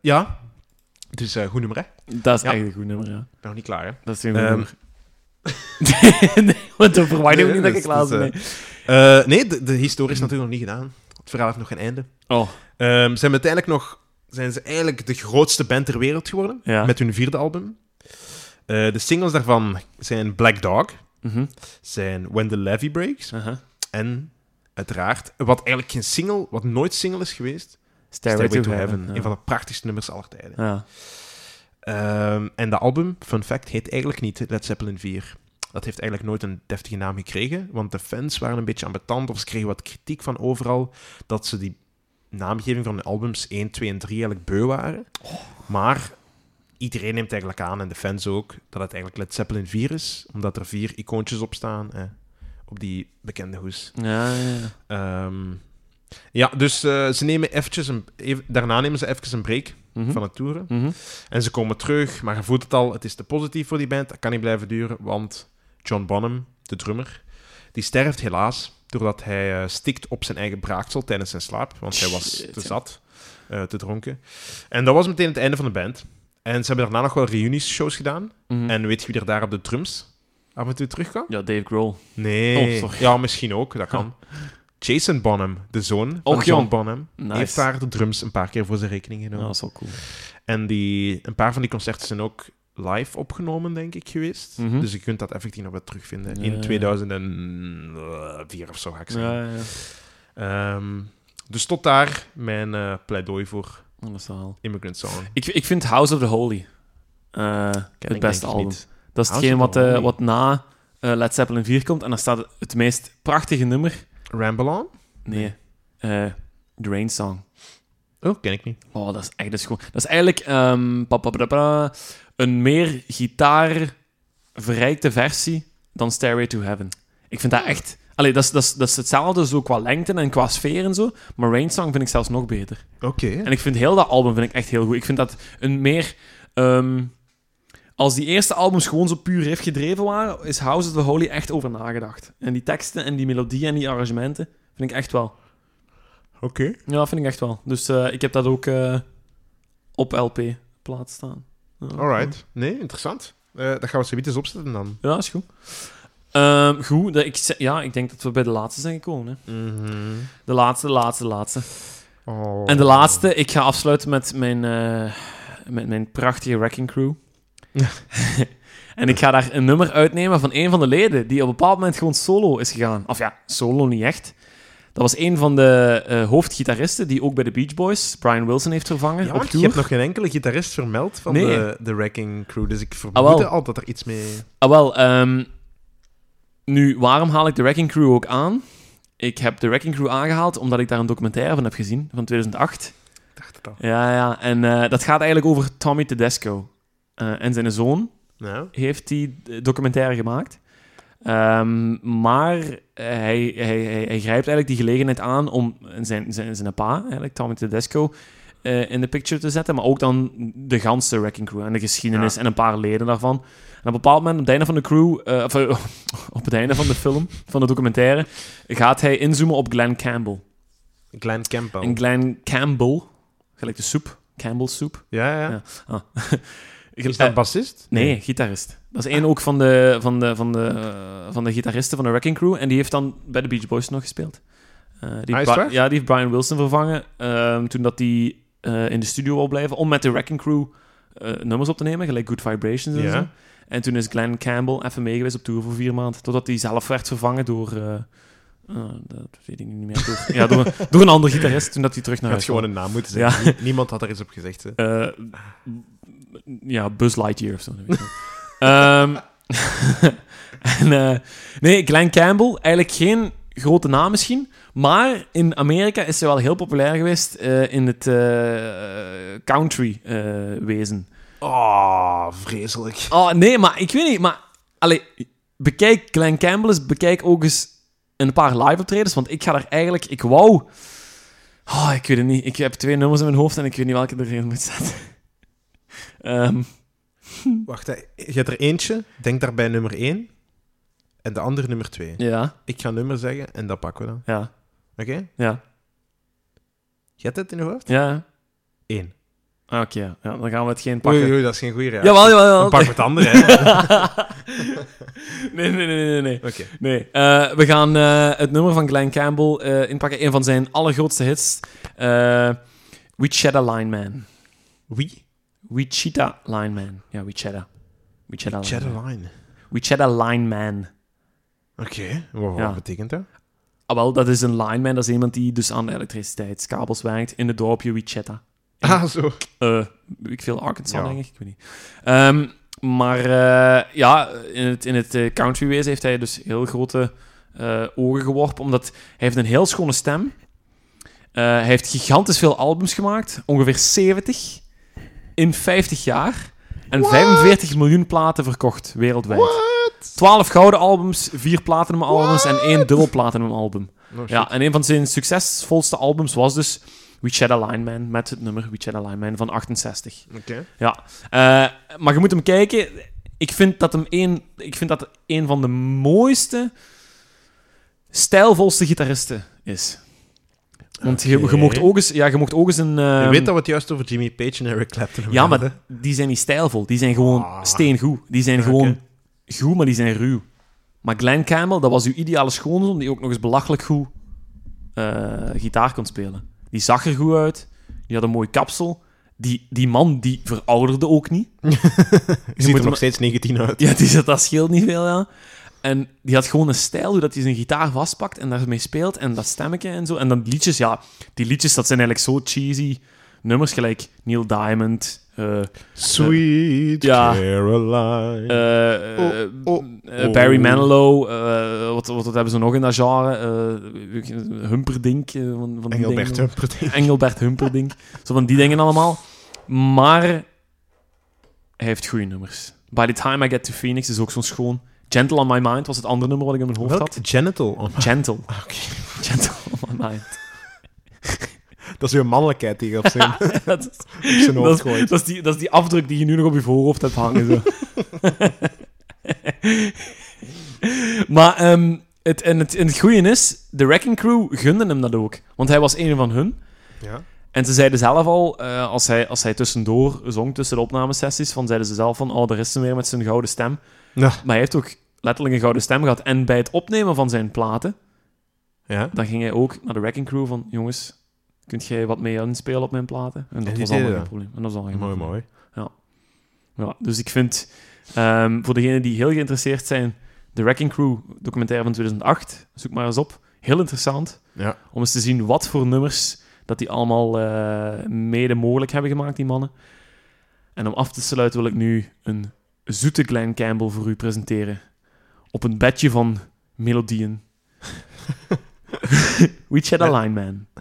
Ja, het is een goed nummer, hè? Dat is Ja. echt een goed nummer, ja. Nog niet klaar, hè? Dat is een goed Ehm, nummer. nee, want dan verwacht ik Nee, ook niet dat ik dus- klaar ben. dus, nee. Eh, nee, de, de historie is natuurlijk nog niet gedaan. Het verhaal heeft nog geen einde. Oh, Ehm, ze hebben uiteindelijk nog, zijn ze eigenlijk de grootste band ter wereld geworden. ja. Met hun vierde album. Eh, de singles daarvan zijn Black Dog, Mhm. zijn When the Levy Breaks Aha. en uiteraard, wat eigenlijk geen single, wat nooit single is geweest, Stairway, to, Heaven. ja. Een van de prachtigste nummers aller tijden. Ja. Ehm, en dat album, fun fact, heet eigenlijk niet Led Zeppelin 4. Dat heeft eigenlijk nooit een deftige naam gekregen, want de fans waren een beetje ambetant of ze kregen wat kritiek van overal dat ze die naamgeving van de albums 1, 2 en 3 eigenlijk beu waren. Maar iedereen neemt eigenlijk aan, en de fans ook, dat het eigenlijk Led Zeppelin 4 is, omdat er vier icoontjes op staan eh, op die bekende hoes. Ja, ja, ja. Ehm, ja, dus eh, ze nemen eventjes een, even- daarna nemen ze even een break Mhm. van het toeren. Mhm. En ze komen terug, maar je voelt het al, het is te positief voor die band. Dat kan niet blijven duren, want John Bonham, de drummer, die sterft helaas doordat hij eh, stikt op zijn eigen braaksel tijdens zijn slaap, want hij was Shit, te ja. zat, eh, te dronken. En dat was meteen het einde van de band. En ze hebben daarna nog wel reunieshows gedaan. Mhm. En weet je wie er daar op de drums af en toe terugkwam? Ja, Dave Grohl. Nee. Oh, sorry. ja, misschien ook, dat kan. Jason Bonham, de zoon van Och, John jong. Bonham, Nice. heeft daar de drums een paar keer voor zijn rekening Ja, genomen. dat is wel cool. En die, een paar van die concerten zijn ook live opgenomen, denk ik, geweest. Mhm. Dus je kunt dat effectief nog wel terugvinden. Ja, ja, In ja. 2004 of zo, ga ik zeggen. Ja, ja, ja. Ehm, dus tot daar mijn eh, pleidooi voor Dat is wel- Immigrant Song. Ik, ik vind House of the Holy eh, het denk ik beste album. niet. Dat is House hetgeen of wat, the eh, Holy. wat na eh, Led Zeppelin 4 komt. En dan staat het meest prachtige nummer. Ramble On? Nee. eh, The Rain Song. Oh, ken ik niet. Oh, dat is echt dat is gewoon. Dat is eigenlijk ehm, pa, pa, pa, pa, een meer gitaar-verrijkte versie dan Stairway to Heaven. Ik vind dat echt. Allee, dat is, dat, is, dat is hetzelfde zo qua lengte en qua sfeer en zo. Maar Rain Song vind ik zelfs nog beter. Oké. En ik vind heel dat album vind ik echt heel goed. Ik vind dat een meer... ehm, als die eerste albums gewoon zo puur riff gedreven waren, is House of the Holy echt over nagedacht. En die teksten en die melodieën en die arrangementen vind ik echt wel. Oké. Ja, dat vind ik echt wel. Dus eh, ik heb dat ook eh, op LP plaats staan. Ja. Alright. Nee, interessant. Eh dat gaan we zoiets eens opzetten dan. Ja, is goed. Ehm, goed, dat ik, ze- ja, ik denk dat we bij de laatste zijn gekomen. Hè. Mhm. De laatste, laatste, laatste. Oh. En de laatste, ik ga afsluiten met mijn, eh, met mijn prachtige Wrecking Crew. en ik ga daar een nummer uitnemen van een van de leden die op een bepaald moment gewoon solo is gegaan. Of ja, solo niet echt. Dat was een van de eh, hoofdgitaristen die ook bij de Beach Boys Brian Wilson heeft vervangen Ja, op want je tour. hebt nog geen enkele gitarist vermeld van Nee. de, de Wrecking Crew, dus ik Ah, vermoedde wel. al dat er iets mee... Ah, wel. ehm, nu, waarom haal ik de Wrecking Crew ook aan? Ik heb de Wrecking Crew aangehaald omdat ik daar een documentaire van heb gezien, van 2008. Ik dacht het al. Ja, ja. En eh, dat gaat eigenlijk over Tommy Tedesco. Eh, en zijn zoon Nou, heeft die eh, documentaire gemaakt. Ehm, maar hij, hij, hij, hij grijpt eigenlijk die gelegenheid aan om zijn, zijn, zijn pa, eigenlijk Tommy Tedesco, eh, in de picture te zetten. Maar ook dan de ganse Wrecking Crew en de geschiedenis Ja. en een paar leden daarvan. En op een bepaald moment, op het einde van de crew, eh, of, eh, op het einde van de film, van de documentaire, gaat hij inzoomen op Glenn Campbell. Glenn Campbell. En Glenn Campbell, gelijk de soep, Campbell soep. Ja, ja. Ja. Ah. Is dat een bassist? Nee, gitarist. Dat is één ook van de, van, de, van, de, eh, van de gitaristen van de Wrecking Crew. En die heeft dan bij de Beach Boys nog gespeeld. Eh, die Ah, is Bri- het waar? Ja, die heeft Brian Wilson vervangen ehm, toen dat die eh, in de studio wou blijven. Om met de Wrecking Crew eh, nummers op te nemen, gelijk Good Vibrations en Ja. zo. En toen is Glenn Campbell even mee geweest op tour voor vier maanden. Totdat hij zelf werd vervangen door... eh, eh, dat weet ik niet meer. Door, ja, door, door een ander gitarist toen dat hij terug Je naar had huis gewoon kwam. een naam moeten zeggen. Nie- Niemand had er iets op gezegd. Hè. Eh, ja, Buzz Lightyear of zo. dat weet ik wel. Ehm, en, eh, nee, Glenn Campbell, eigenlijk geen grote naam misschien, maar in Amerika is ze wel heel populair geweest eh, in het eh, country eh, wezen. Oh, vreselijk. Oh, nee, maar ik weet niet, maar allee, bekijk Glenn Campbell eens, bekijk ook eens een paar live optredens, want ik ga daar eigenlijk, ik wou... Oh, ik weet het niet. Ik heb twee nummers in mijn hoofd en ik weet niet welke erin moet zetten. Ehm, Wacht, hè. je hebt er eentje. Denk daarbij nummer 1. En de andere nummer 2. ja, Ik ga nummer zeggen en dat pakken we dan. ja, Oké? ja, Je hebt het in je hoofd? ja. 1. Ah, Oké, ja. Ja, dan gaan we het geen Oei, pakken. oei, dat is geen goede reactie. Jawel, jawel, Een jawel. pak met de andere, hè. Oké. nee, nee, nee, nee, nee. nee. Eh, we gaan eh, het nummer van Glenn Campbell eh, inpakken. Een van zijn allergrootste hits. Eh, We Cheddar Line Man. Wie? We Cheetah Line Man. Ja, We Cheddar. We Cheddar Line Man. Chatterline. We Cheddar Line Man. Oké, wat, wat Ja. betekent dat? Ah, wel, dat is een lineman. Dat is iemand die dus aan elektriciteitskabels werkt in het dorpje Wichita. Ah, zo. eh ik veel Arkansas, Ja. denk ik. Ik weet niet. Ehm, maar eh, ja, in het, in het eh, countrywezen heeft hij dus heel grote eh, ogen geworpen. Omdat hij heeft een heel schone stem. Eh, hij heeft gigantisch veel albums gemaakt. Ongeveer 70 in 50 jaar. En 45 miljoen platen verkocht wereldwijd. What? 12 gouden albums, 4 platinum albums en What? 1 dubbel platinum album. No Oh, shit. Ja, en een van zijn succesvolste albums was dus We Shadow Line Man met het nummer We Shadow Line Man van 68. Oké. Ja, eh, maar je moet hem kijken. Ik vind dat hem een, ik vind dat een van de mooiste, stijlvolste gitaristen is. Want je, je Oké. mocht ook eens, ja, je mocht ook eens een. ehm, Je weet dat we het juist over Jimmy Page en Eric Clapton hebben. ja, gehad, maar die zijn niet stijlvol. Die zijn gewoon Ah. steengoed. Die zijn Ja, gewoon oké. goed, maar die zijn ruw. Maar Glenn Campbell, dat was uw ideale schoonzoon, die ook nog eens belachelijk goed eh, gitaar kon spelen. Die zag er goed uit. Die had een mooi kapsel. Die, die man, die verouderde ook niet. hè? moet Ziet er hem- nog steeds 19 uit. Ja, die zat, dat scheelt niet veel, ja. En die had gewoon een stijl, hoe dat hij zijn gitaar vastpakt en daarmee speelt. En dat stemmetje en zo. En dan die liedjes, ja, die liedjes, dat zijn eigenlijk zo cheesy nummers. Gelijk Neil Diamond, eh, Sweet Ja. Caroline. eh, Oh, eh, oh, eh, Barry oh. Manilow, eh, wat, wat, wat hebben ze nog in dat genre? Eh, Humperdink. eh, van, van die Engelbert dingen. Humperdinck. Engelbert Humperdink. Zo van die dingen allemaal. Maar hij heeft goede nummers. By the Time I Get to Phoenix is ook zo'n schoon. Gentle on My Mind was het andere nummer wat ik in mijn hoofd Welk? had. Genital. Oh, Gentle. oké. Gentle on My Mind. Dat is weer mannelijkheid die je op zijn, op dat, is, zijn hoofd dat, gooit. is- dat is die, dat is die afdruk die je nu nog op je voorhoofd hebt hangen. Zo. maar ehm, het, en het, en het goede is, de Wrecking Crew gunden hem dat ook. Want hij was een van hun. Ja. En ze zeiden zelf al, eh, als, hij, als hij tussendoor zong tussen de opnamesessies, van, zeiden ze zelf van, oh, daar is ze weer met zijn gouden stem. Ja. Maar hij heeft ook letterlijk een gouden stem gehad. En bij het opnemen van zijn platen, ja. dan ging hij ook naar de Wrecking Crew van, jongens, kunt jij wat mee inspelen op mijn platen? En dat die was allemaal deden geen dat. probleem. En dat was allemaal Mooi, geen probleem. mooi. Ja, dus ik vind, ehm, voor degenen die heel geïnteresseerd zijn, de Wrecking Crew documentaire van 2008, zoek maar eens op. Heel interessant. Ja. Om eens te zien wat voor nummers dat die allemaal eh, mede mogelijk hebben gemaakt, die mannen. En om af te sluiten wil ik nu een zoete Glenn Campbell voor u presenteren. Op een bedje van melodieën. We Chat a Line Man.